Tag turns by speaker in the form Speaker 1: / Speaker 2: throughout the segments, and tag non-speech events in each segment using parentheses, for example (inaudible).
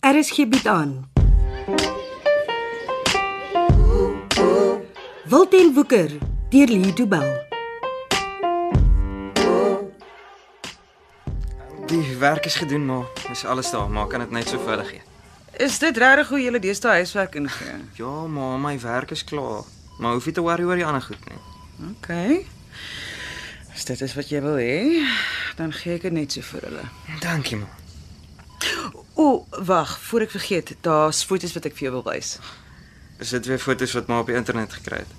Speaker 1: RSG bied Er aan. Wilten Woeker deur Lee Du Bell.
Speaker 2: Die werk is gedoen, maar is alles daar, maar kan dit net so verder gee.
Speaker 3: Is dit regtig hoe julle deesdae huiswerk ingee?
Speaker 2: Ja, maar my werk is klaar. Maar hoef nie te worry oor die ander goed nie.
Speaker 3: OK. As dit is wat jy wil hê, dan gee ek dit net so vir hulle.
Speaker 2: Dankie, man.
Speaker 3: O, wag, voor ek vergeet, daar's foto's wat ek vir jou wil wys.
Speaker 2: Is dit weer foto's wat maar op die internet gekry het?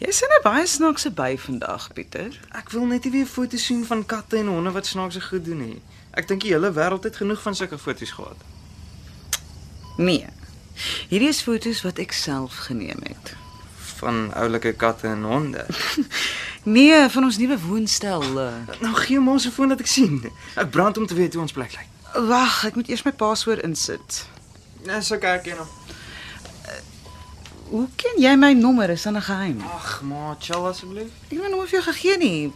Speaker 3: Jy sien 'n baie snaakse by vandag, Pieter.
Speaker 2: Ek wil net nie weer foto's sien van katte en honde wat snaakse goed doen nie. Ek dink die hele wêreld het genoeg van sulke foto's gehad.
Speaker 3: Nee. Hierdie is foto's wat ek self geneem het. (laughs)
Speaker 2: Van oulike katte en honde.
Speaker 3: Nee, van ons nuwe woonstel. eh.
Speaker 2: Nou gee my ons 'n foon dat ek sien. Ek brand om te weet hoe ons plek lyk.
Speaker 3: Wag, ek moet eers my paswoord insit.
Speaker 2: Dis ok, ek ken hom.
Speaker 3: Hoe ken jy my nommer? Is dit 'n geheim?
Speaker 2: Ag, maar chill asseblief.
Speaker 3: Ek het my nommer vir jou gegee nie.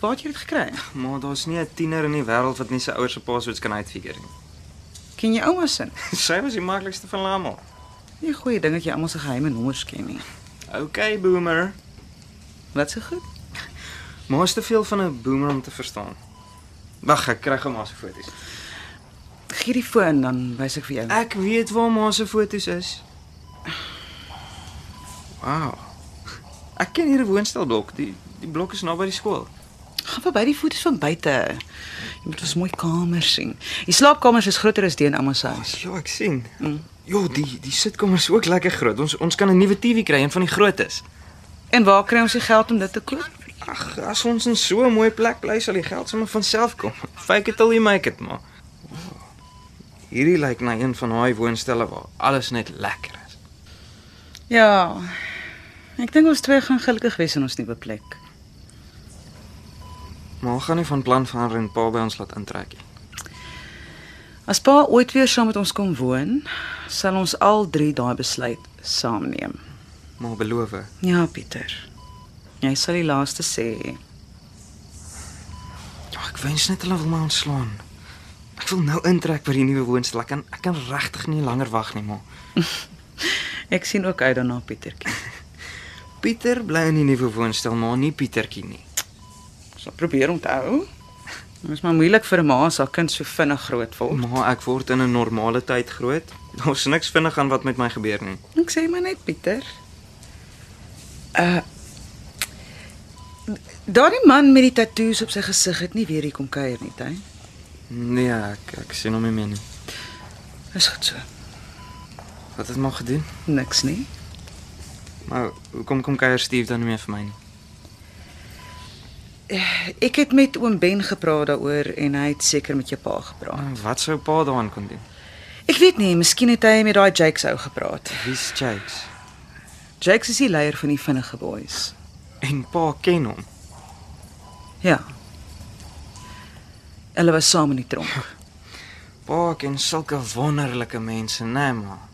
Speaker 3: Waar het jy dit gekry?
Speaker 2: Maar daar's nie 'n tiener in die wêreld wat nie sy ouers se paswoords kan uitfigure nie.
Speaker 3: Ken jy ouma se?
Speaker 2: Sy was die maklikste van hulle almal.
Speaker 3: Nie 'n goeie ding dat jy almal se geheime nommers ken nie.
Speaker 2: OK, boomer.
Speaker 3: Wat se goed?
Speaker 2: Maar is te veel van 'n boomer om te verstaan. Wag, ek kry hom as foto's.
Speaker 3: Gee die foon dan wys ek vir jou.
Speaker 2: Ek weet waar ma se foto's is. Wow. Ek ken hier 'n woonstelblok. Die die blok is naby die skool.
Speaker 3: Gaan verby die foto's van buite. Jy moet ons mooi kamers sien. Die slaapkamers is groter as die in almal se huis.
Speaker 2: Ja, ek sien. Mm. Ja, die die sitkamer is ook lekker groot. Ons ons kan 'n nuwe TV kry, een van die grootes.
Speaker 3: En waar kry ons die geld om dit te koop?
Speaker 2: Ag, as ons in so 'n mooi plek bly, sal die geld sommer van self kom. Fake it till you make it, maar. Hierdie lyk na een van daai woonstelle waar alles net lekker is.
Speaker 3: Ja. Ek dink ons twee gaan gelukkig wees in ons nuwe plek.
Speaker 2: Maar ons gaan nie van plan verander en pa by ons laat intrek nie.
Speaker 3: As pa ooit weer saam met ons kom woon, sal ons al drie daai besluit saam neem.
Speaker 2: Maar beloof,
Speaker 3: Ja, Pieter. Jy sal die laaste sê. (laughs) hê.
Speaker 2: ja, ek wens net hulle wil my ontslaan. Ek wil nou intrek by die nuwe woonstel. Ek kan ek kan regtig nie langer wag nie, maar
Speaker 3: Ek sien ook uit daarna, Pietertjie.
Speaker 2: Pieter bly in die nuwe woonstel, maar nie Pietertjie nie.
Speaker 3: Ons sal probeer onthou. Dit is maar moeilik vir 'n ma as haar kind so vinnig groot word.
Speaker 2: Maar ek word in 'n normale tyd groot. Daar's niks vinnig aan wat met my gebeur nie.
Speaker 3: Ek sê maar net Pieter. Uh Daardie man met die tatoeëns op sy gesig het nie weer hier kom kuier nie, hy.
Speaker 2: Nee, ek ek sien hom nie meer nie.
Speaker 3: Is goed so.
Speaker 2: Wat het maar gedoen?
Speaker 3: Niks nie.
Speaker 2: Maar hoekom kom kuier Steve dan nie meer vir my nie?
Speaker 3: Ek het met oom Ben gepraat daaroor en hy het seker met jou pa gepraat.
Speaker 2: Ah, Wat sou pa daaraan kon doen?
Speaker 3: Ek weet nie, miskien het hy met daai Jakes ou gepraat.
Speaker 2: Wie's Jakes?
Speaker 3: Jakes is die leier van die vinnige boys.
Speaker 2: En pa ken hom.
Speaker 3: Ja. Hulle was saam in die (laughs) tronk.
Speaker 2: Pa ken sulke wonderlike mense, né, nee, ma?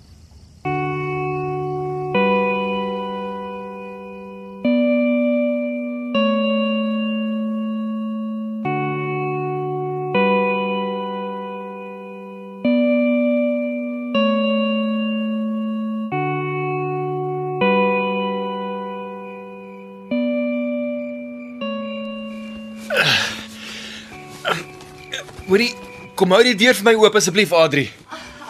Speaker 4: Hoorie, kom hou die deur vir my oop asseblief, Adri.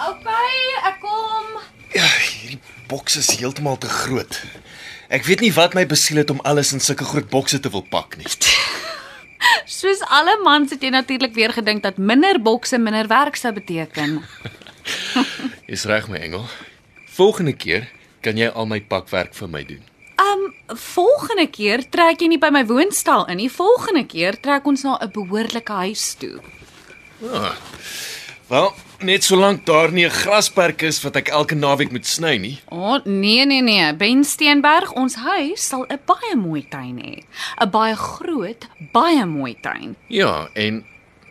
Speaker 5: Okay, ek kom.
Speaker 4: Ja, hierdie boks is heeltemal te groot. Ek weet nie wat my besiel het om alles in sulke groot bokse te wil pak nie.
Speaker 5: Soos alle mans het jy natuurlik weer gedink dat minder bokse minder werk sou beteken.
Speaker 4: Jy's reg my engel. Volgende keer kan jy al my pakwerk vir my doen.
Speaker 5: Um volgende keer trek jy nie by my woonstel in nie. Volgende keer trek ons na 'n behoorlike huis toe.
Speaker 4: Wel, net solank daar nie 'n grasperk is wat ek elke naweek moet sny nie.
Speaker 5: O, oh, nee nee nee, Ben Steenberg, ons huis sal 'n baie mooi tuin hê. 'n Baie groot, baie mooi tuin.
Speaker 4: Ja, en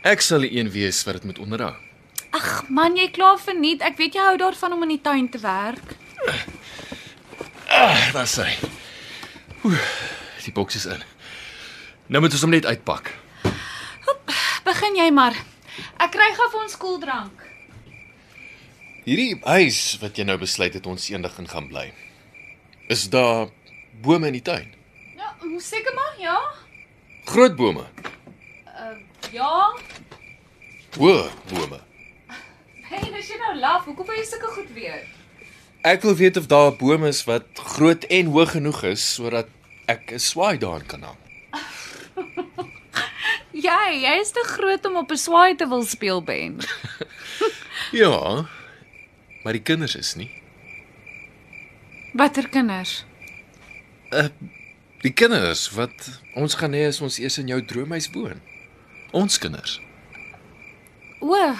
Speaker 4: ek sal die een wees wat dit moet onderhou.
Speaker 5: Ag man, jy klaar verniet. Ek weet jy hou daarvan om in die tuin te werk.
Speaker 4: Ah, daar sê. Oeh, die boks is in. Nou moet ons hom net uitpak.
Speaker 5: Begin jy maar. Ek kry gou vir ons koeldrank.
Speaker 4: Hierdie huis wat jy nou besluit het ons eendag in gaan bly. Is daar bome in die tuin?
Speaker 5: Ja, seker maar, ja.
Speaker 4: Groot bome,
Speaker 5: Ja.
Speaker 4: hoë bome.
Speaker 5: Hey, dis jy nou laf. Hoekom wil jy sulke goed weet?
Speaker 4: Ek wil weet of daar 'n boom is wat groot en hoog genoeg is sodat ek 'n swaai daarin kan hang.
Speaker 5: Jy, jy is te groot om op 'n swaai te wil speel, Ben.
Speaker 4: Ja. Maar die kinders is nie.
Speaker 5: Watter kinders?
Speaker 4: Die kinders wat ons gaan hê as ons eers in jou droomhuis woon. Ons kinders.
Speaker 5: O, o,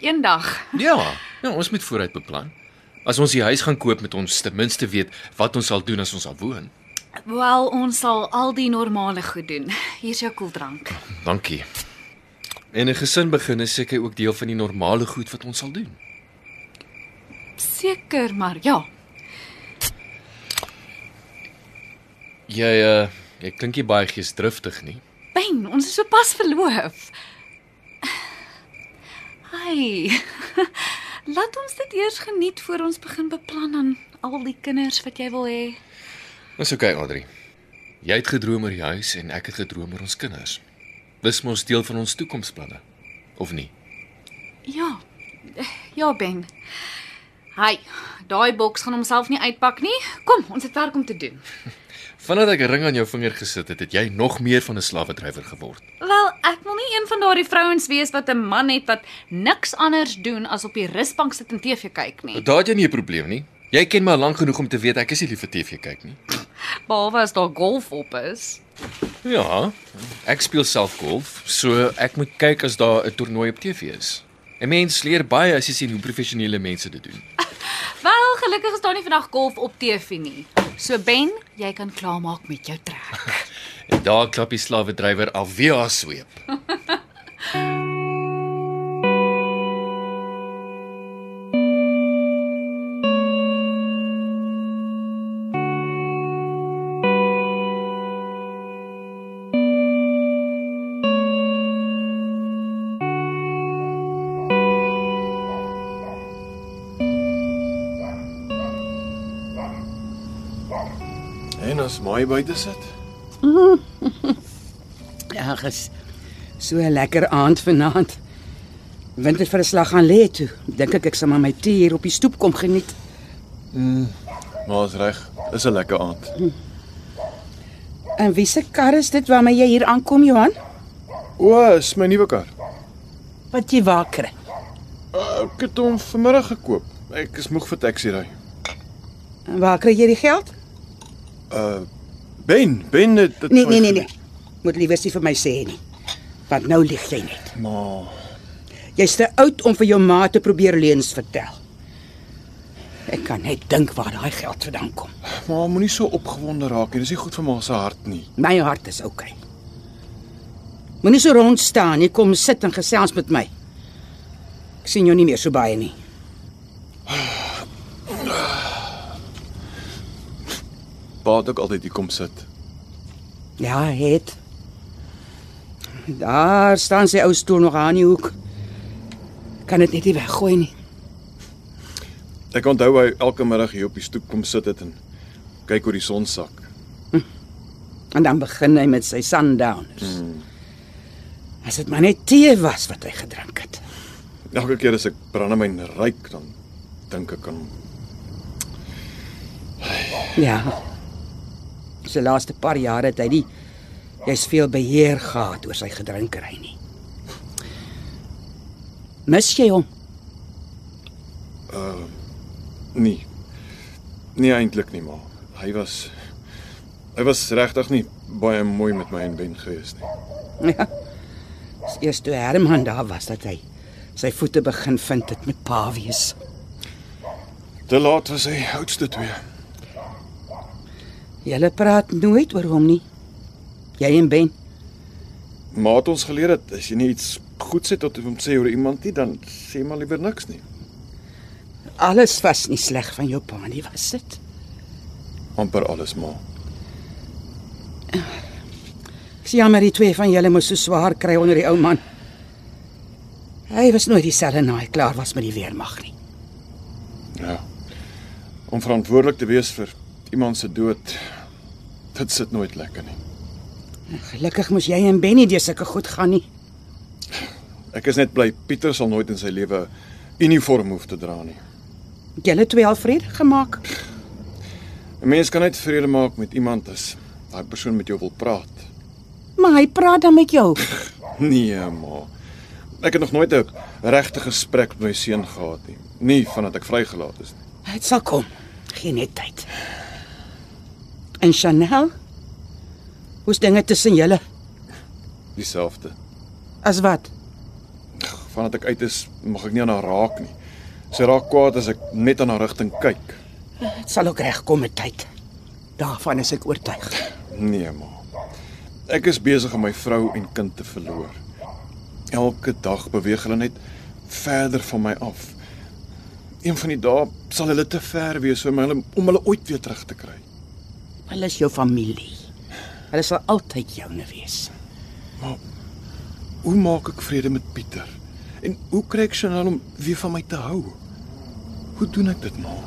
Speaker 5: eendag.
Speaker 4: Ja, ja, ons moet vooruit beplan. As ons die huis gaan koop met ons ten minste weet wat ons sal doen as ons sal woon.
Speaker 5: Wel, ons sal al die normale goed doen. Hier's jou koeldrank.
Speaker 4: Dankie. En 'n gesin begin is seker ook deel van die normale goed wat ons sal doen.
Speaker 5: Seker, maar ja.
Speaker 4: Jy uh jy klink nie baie geesdriftig nie.
Speaker 5: Ben, ons is sopas verloof. Hi. (laughs) Laat ons dit eers geniet voor ons begin beplan aan al die kinders wat jy wil hê.
Speaker 4: Dis oké, okay, Adri. Jy het gedroom oor die huis en ek het gedroom oor ons kinders. Dis mos deel van ons toekomsplanne, of nie?
Speaker 5: Ja. Ja, Ben. Hi. Daai boks gaan homself nie uitpak nie. Kom, ons het werk om te doen.
Speaker 4: Vandat ek 'n ring aan jou vinger gesit het, het jy nog meer van 'n slawedrywer geword.
Speaker 5: Wel, ek wil nie een van daardie vrouens wees wat 'n man het wat niks anders doen as op die rusbank sit en TV kyk nie.
Speaker 4: Daar het jy nie 'n probleem nie. Jy ken my lank genoeg om te weet ek is nie lief vir TV kyk nie.
Speaker 5: Behalwe as daar golf op is.
Speaker 4: Ja, ek speel self golf, so ek moet kyk as daar 'n toernooi op TV is. 'n Mens leer baie as jy sien hoe professionele mense dit doen.
Speaker 5: Wel, gelukkig is daar nie vandag golf op TV nie. So Ben, jy kan klaarmaak met jou trek.
Speaker 4: En daar klap die slawedrywer alweer haar sweep.
Speaker 6: En as my buite sit,
Speaker 3: Ag, Ja, is so 'n lekker aand vanaand. Winter vir 'n slag gaan lê toe. Dink ek ek sal maar my tee hier op die stoep kom geniet.
Speaker 6: maar is reg, is 'n lekker aand.
Speaker 3: En wie se kar is dit waarmee jy hier aankom, Johan?
Speaker 6: O, is my nuwe kar.
Speaker 3: Wat jy wakker.
Speaker 6: Ek het hom vanmiddag gekoop. Ek is moeg vir taxi ry.
Speaker 3: En waar kry jy die geld?
Speaker 6: Uh, Ben, Ben dit dit-
Speaker 3: Nee, nee, nee, nee. Moet liewer nie vir my sê nie. Want nou lieg jy net.
Speaker 6: Maar
Speaker 3: Jy's te oud om vir jou ma te probeer leuns vertel. Ek kan net dink waar daai geld vandaan kom.
Speaker 6: maar moenie so opgewonde raak nie. Dis nie goed vir ma se hart nie.
Speaker 3: My hart is oukei. Okay. Moenie so rond staan nie, kom sit en gesels met my. Ek sien jou nie meer so baie nie.
Speaker 6: Pa het ook altyd hier kom sit.
Speaker 3: Ja, het. Daar staan sy ou stoel nog aan die hoek. Kan dit net nie weggooi nie.
Speaker 6: Ek onthou hy elke middag hier op die stoep kom sit het en kyk hoe die son sak.
Speaker 3: En dan begin hy met sy sundowners. Mm. As dit maar net tee was wat hy gedrink het.
Speaker 6: Elke keer as ek brandewyn ryk dan dink ek aan hom.
Speaker 3: Ja. Sy laaste paar jare het hy die jy's veel beheer gehad oor sy gedrinkery nie. Mis jy hom? (laughs)
Speaker 6: Nee. Nee eintlik nie, ma. Hy was hy was regtig nie baie mooi met my en Ben gewees nie.
Speaker 3: Ja. Dis eers toe Herman daar was dat hy sy voete begin vind het met pa wees.
Speaker 6: Te laat was hy oudste twee.
Speaker 3: Julle praat nooit oor hom nie. Jy en Ben.
Speaker 6: Maar het ons geleer dat as jy nie iets goed sê tot hom sê oor iemand nie, dan sê maar liewer niks nie.
Speaker 3: Alles was nie sleg van jou pa nie, was dit?
Speaker 6: amper alles maar.
Speaker 3: Ek sien jammer die twee van julle moes so swaar kry onder die ou man. Hy was nooit dieselfde na hy klaar was met die weermag nie.
Speaker 6: Ja. Om verantwoordelik te wees vir iemand se dood dit sit nooit lekker nie.
Speaker 3: Gelukkig moes jy en Benny deur sulke goed gaan nie.
Speaker 6: Ek is net bly Pieter sal nooit in sy lewe 'n uniform hoef te dra nie.
Speaker 3: Het Julle twee al vrede gemaak.
Speaker 6: 'n Mens kan net vrede maak met iemand as daai persoon met jou wil praat.
Speaker 3: Maar hy praat dan met jou.
Speaker 6: Nee, ma. Ek het nog nooit 'n regte gesprek met my seun gehad nie. Nie vandat ek vrygelaat is nie.
Speaker 3: Dit sal kom. Geen net tyd. En Chanel? Hoe's dinge tussen julle?
Speaker 6: Dieselfde.
Speaker 3: As wat?
Speaker 6: Vandat ek uit is, mag ek nie aan haar raak nie. Sy raak kwaad as ek net aan haar rigting kyk.
Speaker 3: Dit sal ook regkom met tyd. Daarvan is ek oortuig.
Speaker 6: Nee, ma. Ek is besig om my vrou en kind te verloor. Elke dag beweeg hulle net verder van my af. Een van die dae sal hulle te ver wees om hulle om hulle ooit weer terug te kry.
Speaker 3: Hulle is jou familie. Hulle sal altyd joune wees.
Speaker 6: Hoe maak ek vrede met Pieter? En hoe kry ek Chanel om weer van my te hou? Hoe doen ek dit maar?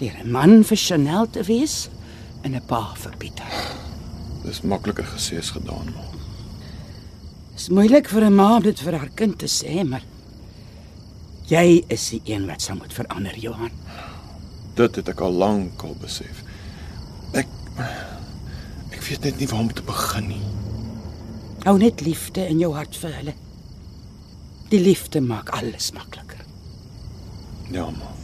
Speaker 3: Deur 'n man vir Chanel te wees en 'n pa vir Pieter.
Speaker 6: Dis makliker gesê as gedaan, maar
Speaker 3: Dis moeilik vir 'n ma om dit vir haar kind te sê, maar jy is die een wat sal moet verander, Johan.
Speaker 6: dit het ek al lank al besef. Ek ek weet net nie waar om te begin nie.
Speaker 3: Hou net liefde in jou hart vir hulle. Die liefde maak alles makliker.
Speaker 6: Ja, maar.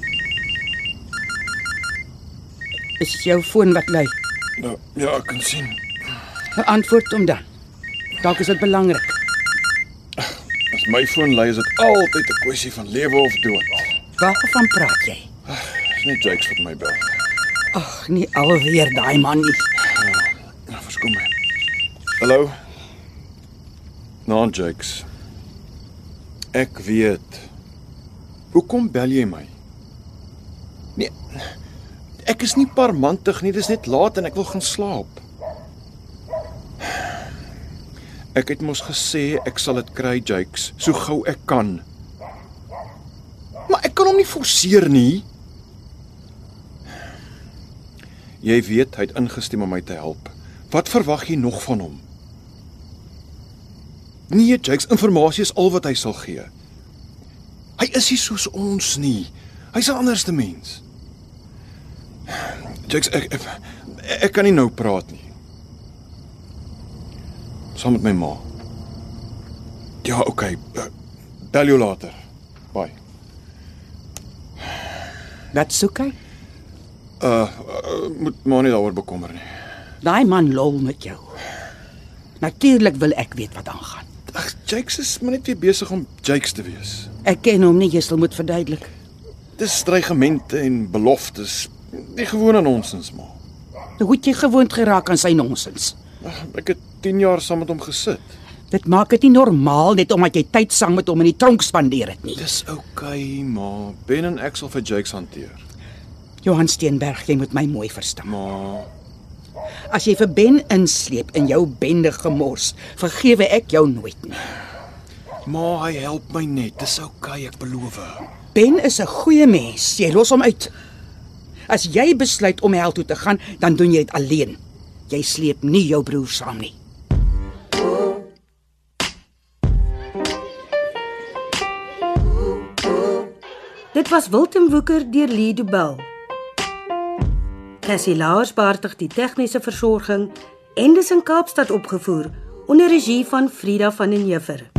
Speaker 3: Dis jou foon wat lui.
Speaker 6: Nou, ja, ek kan sien.
Speaker 3: Antwoord hom dan. Dalk is dit belangrik.
Speaker 6: As my foon lui is dit altyd 'n kwessie van lewe of dood.
Speaker 3: Waarvan praat jy?
Speaker 6: Dis net jokes wat my bel.
Speaker 3: Ag, nie alweer daai man nie.
Speaker 6: Nou, verskom my. Hallo. Nou, Jakes. Ek weet. Hoekom bel jy my? Nee. Ek is nie parmantig nie, dis net laat en ek wil gaan slaap. Ek het mos gesê ek sal dit kry, Jakes, so gou ek kan. Maar ek kan hom nie forceer nie. Jy weet hy het ingestem om my te help. Wat verwag jy nog van hom? Nee, Jakes, inligting is al wat hy sal gee. Hy is nie soos ons nie. Hy's 'n anderste mens. Jakes, ek, ek ek kan nie nou praat nie. Saam met my ma. Ja, okay. eh, Bel jou later. Bye.
Speaker 3: Wat soek hy?
Speaker 6: Uh, uh moet maar nie daaroor bekommer nie.
Speaker 3: Daai man lol met jou. Natuurlik wil ek weet wat aangaan.
Speaker 6: Ag, Jakes is maar net weer besig om Jakes te wees.
Speaker 3: Ek ken hom nie, jy sal moet verduidelik.
Speaker 6: Dis dreigemente en beloftes. Nie gewoon aan ons ons maar.
Speaker 3: Nou Hoe het jy gewoond geraak aan sy nonsens?
Speaker 6: Ag, Ek het 10 jaar saam met hom gesit.
Speaker 3: Dit maak dit nie normaal net omdat jy tyd saam met hom in die tronk spandeer het nie.
Speaker 6: Dis oukei, okay, ma. Ben en ek sal vir Jakes hanteer.
Speaker 3: Johan Steenberg, jy moet my mooi verstaan.
Speaker 6: Ma,
Speaker 3: As jy vir Ben insleep in jou bende gemors, vergewe ek jou nooit nie.
Speaker 6: ma, hy help my net. Dis oukei, okay, ek beloof.
Speaker 3: Ben is 'n goeie mens. Jy los hom uit. As jy besluit om hel toe te gaan, dan doen jy dit alleen. Jy sleep nie jou broer saam nie.
Speaker 7: Dit was Wilten Woeker deur Lee Du Bell. Cassie Lauers beheerdig die tegniese versorging en dis in Kaapstad opgevoer onder regie van Frida van den Heever.